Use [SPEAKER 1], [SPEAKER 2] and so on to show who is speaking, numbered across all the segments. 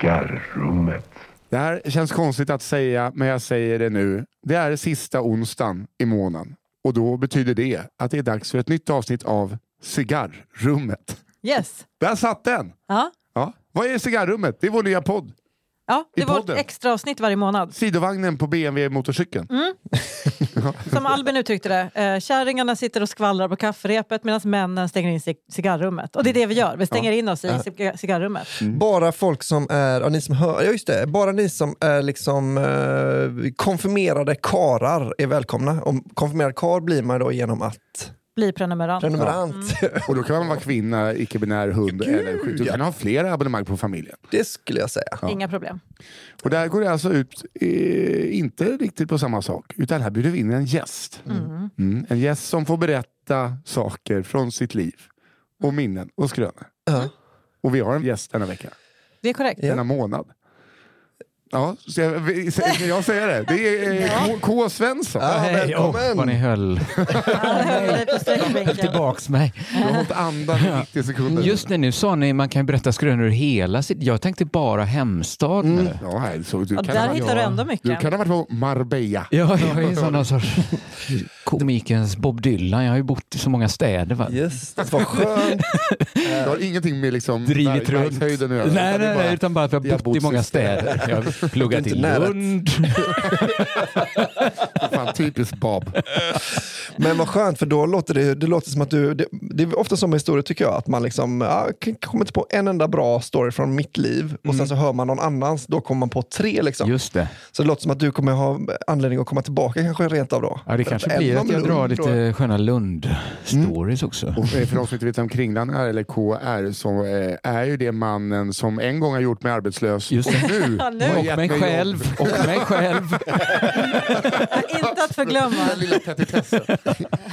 [SPEAKER 1] Gitarrrummet.
[SPEAKER 2] Det här känns konstigt att säga, men jag säger det nu. Det är sista onsdagen i månaden och då betyder det att det är dags för ett nytt avsnitt av Cigarrummet.
[SPEAKER 3] Yes.
[SPEAKER 2] Där satt den!
[SPEAKER 3] Ja,
[SPEAKER 2] Ja. Vad är Cigarrummet? Det är vår nya podd.
[SPEAKER 3] ja det
[SPEAKER 2] I
[SPEAKER 3] var ett
[SPEAKER 2] podden.
[SPEAKER 3] extra avsnitt varje månad.
[SPEAKER 2] Sidovagnen på BMW-motorcykeln.
[SPEAKER 3] Som Albin uttryckte det, eh, kärringarna sitter och skvallrar på kafferepet medan männen stänger in sig i cigarrummet. Och det är det vi gör, vi stänger in oss i ciga- cigarrummet.
[SPEAKER 4] Bara folk som är, ja, ni som hör, ja just det, bara ni som är liksom eh, konfirmerade karar är välkomna. Och konfirmerad kar blir man då genom att
[SPEAKER 3] Bli prenumerant.
[SPEAKER 4] prenumerant.
[SPEAKER 5] Mm.
[SPEAKER 2] Och då kan man vara kvinna, icke-binär, hund eller sjuk. Du kan ha flera abonnemang på familjen.
[SPEAKER 4] Det skulle jag säga.
[SPEAKER 3] Inga problem.
[SPEAKER 2] Och där går det alltså ut, eh, inte riktigt på samma sak, utan här bjuder vi in en gäst. Mm, en gäst som får berätta saker från sitt liv och minnen och skrönor.
[SPEAKER 4] Ja.
[SPEAKER 2] Och vi har en gäst denna vecka,
[SPEAKER 3] Det är korrekt.
[SPEAKER 2] denna månad. Ja, så jag, vi- se- ska jag säger det. Det är eh, K, K. Svensson.
[SPEAKER 4] Ja,
[SPEAKER 5] Hej, åh, vad ni
[SPEAKER 4] välkommen!
[SPEAKER 5] höll
[SPEAKER 3] Ja, det är på sträckbänken.
[SPEAKER 5] tillbaks mig.
[SPEAKER 2] Du har hållit andan i 90 sekunder.
[SPEAKER 5] Just det, nu sa ni man kan ju berätta skrönor ur hela sitt... Jag tänkte bara hemstad nu.
[SPEAKER 2] Mm. Ja, här, så du,
[SPEAKER 3] Ja,
[SPEAKER 2] kan ha,
[SPEAKER 3] där
[SPEAKER 2] varit-
[SPEAKER 3] hittar du ändå
[SPEAKER 2] du
[SPEAKER 3] mycket.
[SPEAKER 2] kan ha varit på Marbella.
[SPEAKER 5] Ja, jag är sån här sorts komikens Bob Dylan. Jag har ju bott i så många städer. Va?
[SPEAKER 4] Yes, det var skönt.
[SPEAKER 2] Det har ingenting med liksom
[SPEAKER 5] Drivit
[SPEAKER 2] berg-
[SPEAKER 5] runt.
[SPEAKER 2] bergshöjden att göra.
[SPEAKER 5] Nej,
[SPEAKER 2] utan det är
[SPEAKER 5] nej, nej,
[SPEAKER 2] bara-
[SPEAKER 5] utan bara att jag
[SPEAKER 2] vi har
[SPEAKER 5] har bott i
[SPEAKER 2] bott i
[SPEAKER 5] många
[SPEAKER 2] städer.
[SPEAKER 5] städer. Jag har pluggat
[SPEAKER 4] Inte
[SPEAKER 5] i
[SPEAKER 4] nära.
[SPEAKER 5] Lund.
[SPEAKER 2] Fan, typiskt Bob.
[SPEAKER 4] Men vad skönt, för då låter det, det låter som att du... Det, det är ofta som historier tycker jag, att man liksom, ja, k- kommer inte på en enda bra story från mitt liv och sen så hör man någon annans, då kommer man på tre. Liksom.
[SPEAKER 5] Mm. Just det.
[SPEAKER 4] Så det låter som att du kommer ha anledning att komma tillbaka kanske rent av då.
[SPEAKER 5] Ja, det kanske
[SPEAKER 4] Även
[SPEAKER 5] blir
[SPEAKER 4] om
[SPEAKER 5] att jag
[SPEAKER 4] Lund
[SPEAKER 5] drar
[SPEAKER 4] då-
[SPEAKER 5] lite sköna Lund-stories också.
[SPEAKER 2] Och eh, för de som inte vet vem Kringlan är, eller KR, så eh, är ju det mannen som en gång har gjort mig arbetslös.
[SPEAKER 5] Just det.
[SPEAKER 2] Och nu
[SPEAKER 3] Ja, nu.
[SPEAKER 2] har
[SPEAKER 5] Och
[SPEAKER 2] gett
[SPEAKER 5] mig
[SPEAKER 2] mig jobb.
[SPEAKER 5] själv. Och mig själv.
[SPEAKER 3] Inte att förglömma.
[SPEAKER 2] Den lilla petitessen.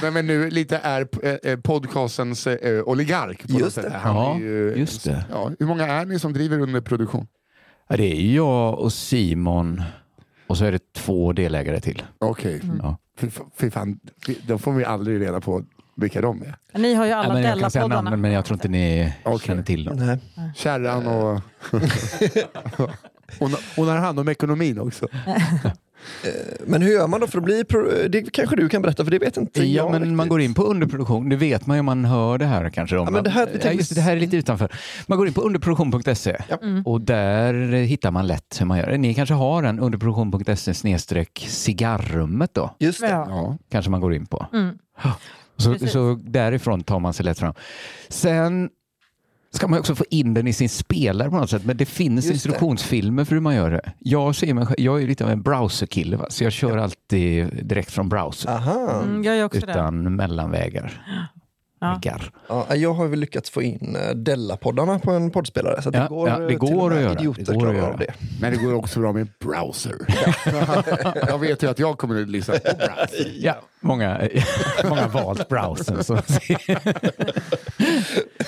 [SPEAKER 2] Nej men nu lite är eh, eh, podcastens eh, oligark. På något
[SPEAKER 4] Just
[SPEAKER 2] sätt.
[SPEAKER 4] det.
[SPEAKER 2] Han
[SPEAKER 5] Ja,
[SPEAKER 2] är ju,
[SPEAKER 5] just det.
[SPEAKER 2] Ja, hur många är ni som driver under produktion?
[SPEAKER 5] Ja, det är ju jag och Simon och så är det två delägare till.
[SPEAKER 2] Okej.
[SPEAKER 3] Mm.
[SPEAKER 5] Ja.
[SPEAKER 2] Fy, fa- fy fan, fy- då får vi aldrig reda på vilka de är.
[SPEAKER 3] Ni har ju alla
[SPEAKER 5] Nej, men jag kan säga
[SPEAKER 3] Della-poddarna.
[SPEAKER 5] namnen men jag tror inte ni
[SPEAKER 2] Okej.
[SPEAKER 5] känner till dem.
[SPEAKER 4] Nej.
[SPEAKER 2] Kärran och... Hon, hon har hand om ekonomin också.
[SPEAKER 4] Men hur gör man då för att bli... pro- Det kanske du kan berätta, för det vet inte
[SPEAKER 5] Ja,
[SPEAKER 4] jag
[SPEAKER 5] men
[SPEAKER 4] riktigt.
[SPEAKER 5] man går in på underproduktion. Det vet man ju om man hör det här kanske. Om
[SPEAKER 4] men
[SPEAKER 5] man,
[SPEAKER 4] det här-
[SPEAKER 5] ja, just, det, det här är lite utanför. Man går in på underproduktion.se
[SPEAKER 4] Ja.
[SPEAKER 5] och där eh, hittar man lätt hur man gör. Ni kanske har en underproduktion.se snedstreck cigarrummet då?
[SPEAKER 4] Just det.
[SPEAKER 3] Ja.
[SPEAKER 2] Ja.
[SPEAKER 5] Kanske man går in på.
[SPEAKER 3] Mm.
[SPEAKER 5] Så,
[SPEAKER 3] Precis.
[SPEAKER 5] så därifrån tar man sig lätt fram. Sen ska man ju också få in den i sin spelare på något sätt, men det finns
[SPEAKER 4] Just det.
[SPEAKER 5] instruktionsfilmer för hur man gör det. Jag, ser mig, själv- jag är ju lite av en browserkille, va? så jag kör alltid direkt från browser
[SPEAKER 4] Aha.
[SPEAKER 3] Mm, jag gör också det.
[SPEAKER 5] utan mellanvägar.
[SPEAKER 3] Ja.
[SPEAKER 5] Vägar.
[SPEAKER 4] Ja, jag har väl lyckats få in eh, Della-poddarna på en poddspelare, så att
[SPEAKER 5] Ja,
[SPEAKER 4] det går,
[SPEAKER 5] ja, det
[SPEAKER 4] eh, till
[SPEAKER 5] går
[SPEAKER 4] och med
[SPEAKER 5] att göra.
[SPEAKER 4] Idioter
[SPEAKER 5] Det går att
[SPEAKER 4] klarar
[SPEAKER 5] göra.
[SPEAKER 4] av det.
[SPEAKER 2] Men det går också bra med browser. jag vet ju att jag kommer att lyssna på browser.
[SPEAKER 5] Ja, många, många har valt browsern. Så.
[SPEAKER 3] Ja, men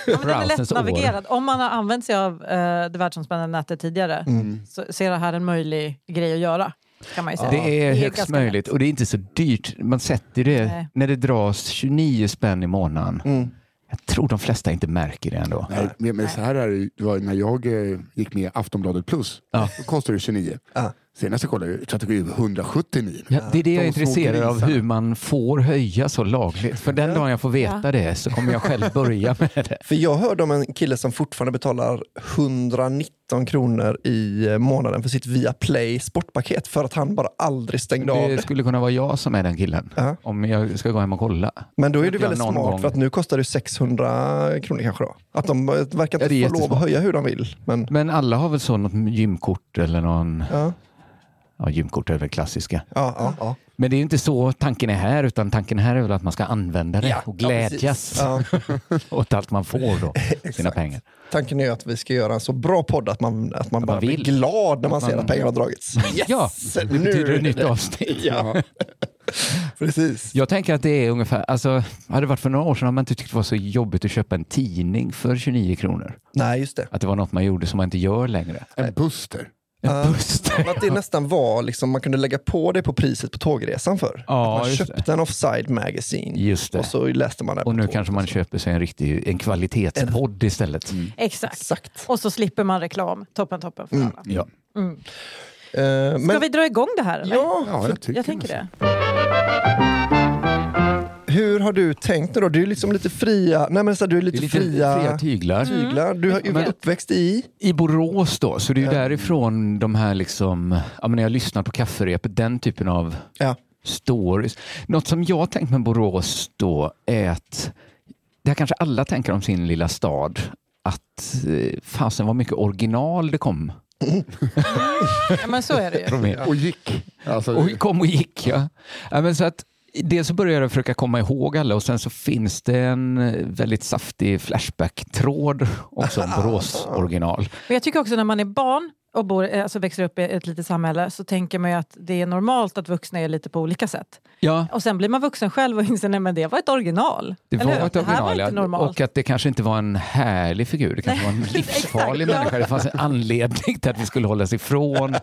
[SPEAKER 3] den är
[SPEAKER 5] Browserns
[SPEAKER 3] lättnavigerad. Om man har använt sig av eh, det världsomspännande nätet tidigare så ser det här en möjlig grej att göra. Kan man ju säga.
[SPEAKER 5] Det är högst
[SPEAKER 3] ganska
[SPEAKER 5] möjligt
[SPEAKER 3] lätt.
[SPEAKER 5] och det är inte så dyrt. Man sätter det
[SPEAKER 3] Nej.
[SPEAKER 5] när det dras 29 spänn i månaden.
[SPEAKER 4] Mm.
[SPEAKER 5] Jag tror de flesta inte märker det ändå.
[SPEAKER 2] Nej, men, men så här är det, ju. det var ju när jag eh, gick med i Aftonbladet plus.
[SPEAKER 5] Ja.
[SPEAKER 2] Då kostade det 29.
[SPEAKER 4] Ja.
[SPEAKER 2] Senast jag kollade, jag tror att det går 179.
[SPEAKER 5] Ja, det är det jag är
[SPEAKER 2] De små
[SPEAKER 5] intresserad av,
[SPEAKER 2] grisarna.
[SPEAKER 5] hur man får höja så lagligt. För den dagen jag får veta det så kommer jag själv börja med det.
[SPEAKER 4] För jag hörde om en kille som fortfarande betalar 119 kronor i eh, månaden för sitt Viaplay sportpaket för att han bara aldrig stängde av
[SPEAKER 5] Det
[SPEAKER 4] det.
[SPEAKER 5] skulle kunna vara jag som är den killen.
[SPEAKER 4] Ja.
[SPEAKER 5] Om jag ska gå hem och kolla.
[SPEAKER 4] Men då är det
[SPEAKER 5] jag
[SPEAKER 4] väldigt
[SPEAKER 5] någon
[SPEAKER 4] smart
[SPEAKER 5] gång.
[SPEAKER 4] för att nu kostar det 600 kronor kanske då. Att de eh, verkar
[SPEAKER 5] Ja,
[SPEAKER 4] inte
[SPEAKER 5] det är
[SPEAKER 4] få lov att
[SPEAKER 5] jättesmart.
[SPEAKER 4] höja hur de vill. Men,
[SPEAKER 5] Men alla har väl så något gymkort eller någon...
[SPEAKER 4] ja,
[SPEAKER 5] Ja, gymkort är väl klassiska.
[SPEAKER 4] ja, ja, ja.
[SPEAKER 5] Men det är ju inte så tanken är här, utan tanken här är väl att man ska använda det
[SPEAKER 4] Ja,
[SPEAKER 5] och
[SPEAKER 4] ja,
[SPEAKER 5] glädjas
[SPEAKER 4] precis. Ja.
[SPEAKER 5] åt allt man får då, sina pengar.
[SPEAKER 4] Tanken är ju att vi ska göra en så bra podd att man, att man bara
[SPEAKER 5] man
[SPEAKER 4] blir
[SPEAKER 5] vill.
[SPEAKER 4] glad när man,
[SPEAKER 5] Att
[SPEAKER 4] ser
[SPEAKER 5] man-
[SPEAKER 4] att pengarna har dragits. Yes!
[SPEAKER 5] Ja, det betyder
[SPEAKER 4] nu-
[SPEAKER 5] ett nytt avsnitt.
[SPEAKER 4] Ja, precis.
[SPEAKER 5] Jag tänker att det är ungefär, alltså hade det varit för några år sedan hade man inte tyckt det var så jobbigt att köpa en tidning för 29 kronor.
[SPEAKER 4] Nej, just det.
[SPEAKER 5] Att det var något man gjorde som man inte gör längre.
[SPEAKER 2] En Buster.
[SPEAKER 5] En
[SPEAKER 4] Ah.
[SPEAKER 5] booster.
[SPEAKER 4] Att det nästan var, liksom, man kunde lägga på det på priset på tågresan för
[SPEAKER 5] Ja,
[SPEAKER 4] Man
[SPEAKER 5] just
[SPEAKER 4] köpte en offside magazine
[SPEAKER 5] Just
[SPEAKER 4] och
[SPEAKER 5] det.
[SPEAKER 4] så läste man det på
[SPEAKER 5] Och nu
[SPEAKER 4] tåget.
[SPEAKER 5] kanske man köper sig en riktig en kvalitetspodd istället.
[SPEAKER 3] Mm. Exakt.
[SPEAKER 4] Exakt.
[SPEAKER 3] Och så slipper man reklam. Toppen, toppen för alla.
[SPEAKER 5] Ja.
[SPEAKER 4] Eh,
[SPEAKER 3] Ska
[SPEAKER 4] men
[SPEAKER 3] vi dra igång det här eller?
[SPEAKER 4] ja,
[SPEAKER 2] Ja, jag tycker
[SPEAKER 3] Jag tänker det.
[SPEAKER 4] hur har du tänkt nu då? Du är liksom lite fria, nej men så här, du är lite,
[SPEAKER 5] Det är lite
[SPEAKER 4] fria,
[SPEAKER 5] fria tyglar. Mm.
[SPEAKER 4] tyglar. Du har ju varit
[SPEAKER 5] Men-
[SPEAKER 4] uppväxt i,
[SPEAKER 5] I Borås då, så det är ju därifrån de här liksom, ja men när jag lyssnar på kafferepet, den typen av
[SPEAKER 4] ja,
[SPEAKER 5] stories. Något som jag har tänkt med Borås då är att, det här kanske alla tänker om sin lilla stad, att eh, fasen vad mycket original det kom.
[SPEAKER 3] Ja, men så är det ju.
[SPEAKER 5] från er.
[SPEAKER 2] Och gick. Alltså,
[SPEAKER 5] Och kom och gick ja. ja men så att, dels så började jag försöka komma ihåg alla och sen så finns det en eh, väldigt saftig Flashback-tråd också om Borås original.
[SPEAKER 3] Men jag tycker också när man är barn och bor, alltså växer upp i ett litet samhälle så tänker man ju att det är normalt att vuxna är lite på olika sätt.
[SPEAKER 5] Ja,
[SPEAKER 3] Och sen blir man vuxen själv och inser att det var ett original.
[SPEAKER 5] det
[SPEAKER 3] Eller
[SPEAKER 5] var
[SPEAKER 3] hur?
[SPEAKER 5] ett
[SPEAKER 3] Det här var
[SPEAKER 5] original
[SPEAKER 3] inte
[SPEAKER 5] ja.
[SPEAKER 3] normalt.
[SPEAKER 5] och att det kanske inte var en härlig figur. Det kanske var en livsfarlig
[SPEAKER 3] exakt, ja.
[SPEAKER 5] människa. Det fanns en anledning till att vi skulle hållas ifrån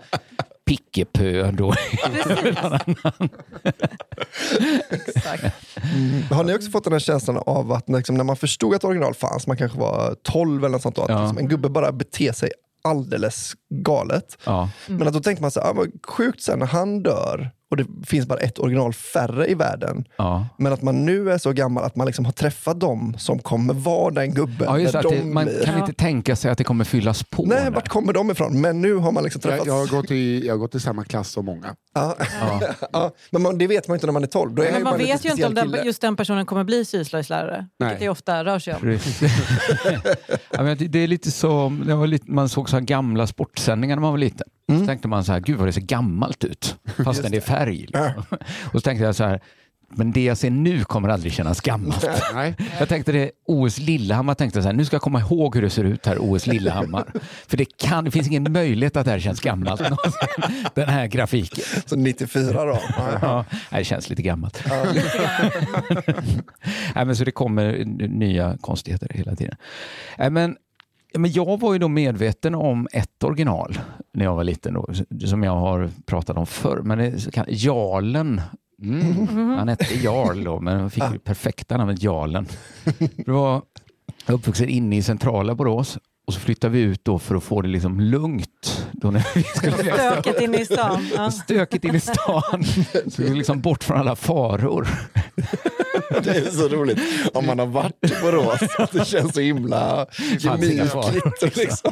[SPEAKER 5] Pickepö då.
[SPEAKER 3] Precis. Exakt.
[SPEAKER 4] Har ni också fått den här känslan av att liksom, när man förstod att original fanns, man kanske var 12 eller något sånt, då, att
[SPEAKER 5] Ja.
[SPEAKER 4] liksom, en gubbe bara beter sig alldeles galet.
[SPEAKER 5] Ja.
[SPEAKER 3] Mm.
[SPEAKER 4] Men att då tänker man så här, ah, vad sjukt sen när han dör och det finns bara ett original färre i världen.
[SPEAKER 5] Ja.
[SPEAKER 4] Men att man nu är så gammal att man liksom har träffat dem som kommer vara den gubben.
[SPEAKER 5] Ja, just
[SPEAKER 4] när
[SPEAKER 5] det, att det,
[SPEAKER 4] de
[SPEAKER 5] man
[SPEAKER 4] blir.
[SPEAKER 5] kan inte tänka sig att det kommer fyllas på.
[SPEAKER 4] Nej,
[SPEAKER 5] nu.
[SPEAKER 4] vart kommer de ifrån? Men nu har man liksom
[SPEAKER 2] jag,
[SPEAKER 4] träffat...
[SPEAKER 2] jag, har gått i, jag har gått i samma klass som många.
[SPEAKER 4] Ja.
[SPEAKER 5] Ja.
[SPEAKER 4] Ja, men man, det vet man inte när man är 12. Då är
[SPEAKER 3] Men
[SPEAKER 4] bara
[SPEAKER 3] man
[SPEAKER 4] en lite
[SPEAKER 3] vet ju inte om
[SPEAKER 4] speciell
[SPEAKER 3] den,
[SPEAKER 4] kille.
[SPEAKER 3] just den personen kommer bli syslöjdslärare,
[SPEAKER 2] Nej.
[SPEAKER 3] vilket det ofta rör sig om.
[SPEAKER 5] Precis. ja, men det- det är lite som, det var lite, man såg så här gamla sportsändningar när man var liten. Så tänkte man så här, gud vad det ser gammalt ut, fastän det är färg. Liksom. Och så tänkte jag så här, men det jag ser nu kommer aldrig kännas gammalt.
[SPEAKER 2] Nej.
[SPEAKER 5] Jag tänkte det, OS Lillehammar, tänkte så här, nu ska jag komma ihåg hur det ser ut här, OS Lillehammar. För det, kan, det finns ingen möjlighet att det här känns gammalt, någonsin, den här grafiken.
[SPEAKER 4] Så 94 då. Ja.
[SPEAKER 5] Ja, det känns lite gammalt. Nej, men så det kommer n- nya konstigheter hela tiden. Nej, men, men jag var ju då medveten om ett original när jag var liten, då, som jag har pratat om förr. Men det, så kan, Jarlen, han hette Jarl då, men han fick ju perfekta namnet Jarlen. Det var, jag är uppvuxen inne i centrala Borås och så flyttade vi ut då för att få det liksom lugnt. Då när vi skulle
[SPEAKER 3] Stöket inne i stan. Ja.
[SPEAKER 5] stökigt in i stan. Så vi är liksom bort från alla faror.
[SPEAKER 4] Det är så roligt. Om man har varit i Borås, att det känns så himla
[SPEAKER 5] fanns inga faror,
[SPEAKER 4] gemytligt. Liksom.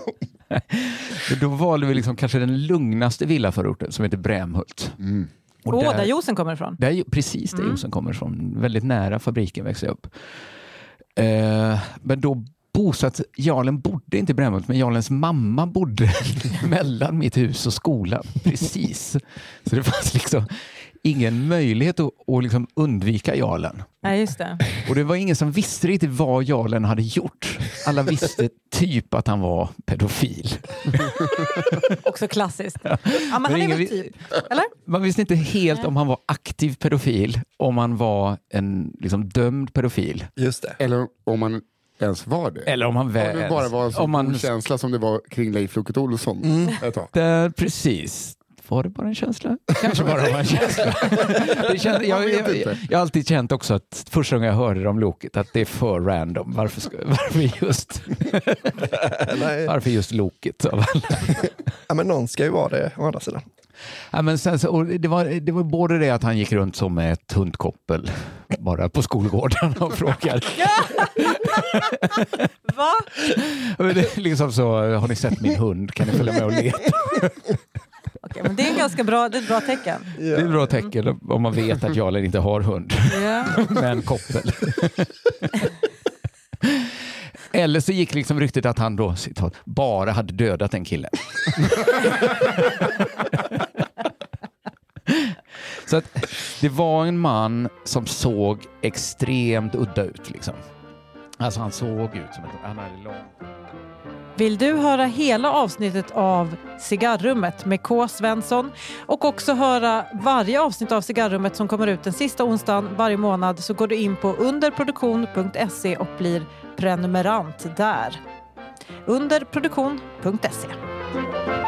[SPEAKER 5] Så då valde vi liksom kanske den lugnaste villaförorten som heter Brämhult. Och
[SPEAKER 3] Åh,
[SPEAKER 5] där-
[SPEAKER 3] där Mm. juicen kommer ifrån.
[SPEAKER 5] där, precis där juicen kommer ifrån. Väldigt nära fabriken växte jag upp. Eh, men då bosatt, Jarlen bodde inte i Brämhult, men Jarlens mamma bodde mellan mitt hus och skolan. Precis. Så det fanns liksom ingen möjlighet att, att liksom undvika Jarlen.
[SPEAKER 3] Nej, just det.
[SPEAKER 5] Och det var ingen som visste riktigt vad Jarlen hade gjort. Alla visste typ att han var pedofil.
[SPEAKER 3] Också klassiskt. Ja, men han är
[SPEAKER 5] ingen
[SPEAKER 3] väl
[SPEAKER 5] vi-
[SPEAKER 3] typ, eller?
[SPEAKER 5] Man visste inte helt om han var aktiv pedofil, om han var en liksom, dömd pedofil.
[SPEAKER 4] Just det.
[SPEAKER 2] Eller om man ens var det.
[SPEAKER 5] Eller om han
[SPEAKER 2] Om Mm. det bara var en sån
[SPEAKER 5] om han-
[SPEAKER 2] god känsla som det var kring Leif Loket Olsson.
[SPEAKER 4] Mm.
[SPEAKER 2] ett tag.
[SPEAKER 5] Där, precis. Var det bara en känsla? Kanske bara var en känsla. Det känns, jag,
[SPEAKER 2] vet
[SPEAKER 5] jag,
[SPEAKER 2] inte.
[SPEAKER 5] jag, har alltid känt också att första gången jag hörde det om Loket att det är för random. Varför, ska, varför, just,
[SPEAKER 4] Nej,
[SPEAKER 5] varför just Loket? av alla?
[SPEAKER 4] ja, men någon ska ju vara det, å andra sidan.
[SPEAKER 5] Ja, men sen så, och det, var, det var både det att han gick runt som ett hundkoppel bara på skolgården och frågade.
[SPEAKER 3] Va?
[SPEAKER 5] Men det är liksom så, har ni sett min hund? Kan ni följa med och leta?
[SPEAKER 3] Okej, men det är en ganska bra, det är ett bra tecken.
[SPEAKER 5] Det är ett bra tecken om man vet att Jarlen inte har hund,
[SPEAKER 3] Ja.
[SPEAKER 5] men koppel. Eller så gick liksom ryktet att han då, citat, bara hade dödat en kille. Så att det var en man som såg extremt udda ut. Liksom. Alltså han såg ut som en... Han hade lång...
[SPEAKER 3] Vill du höra hela avsnittet av Cigarrummet med K. Svensson och också höra varje avsnitt av Cigarrummet som kommer ut den sista onsdagen varje månad så går du in på underproduktion.se E och blir E. prenumerant där. Underproduktion.se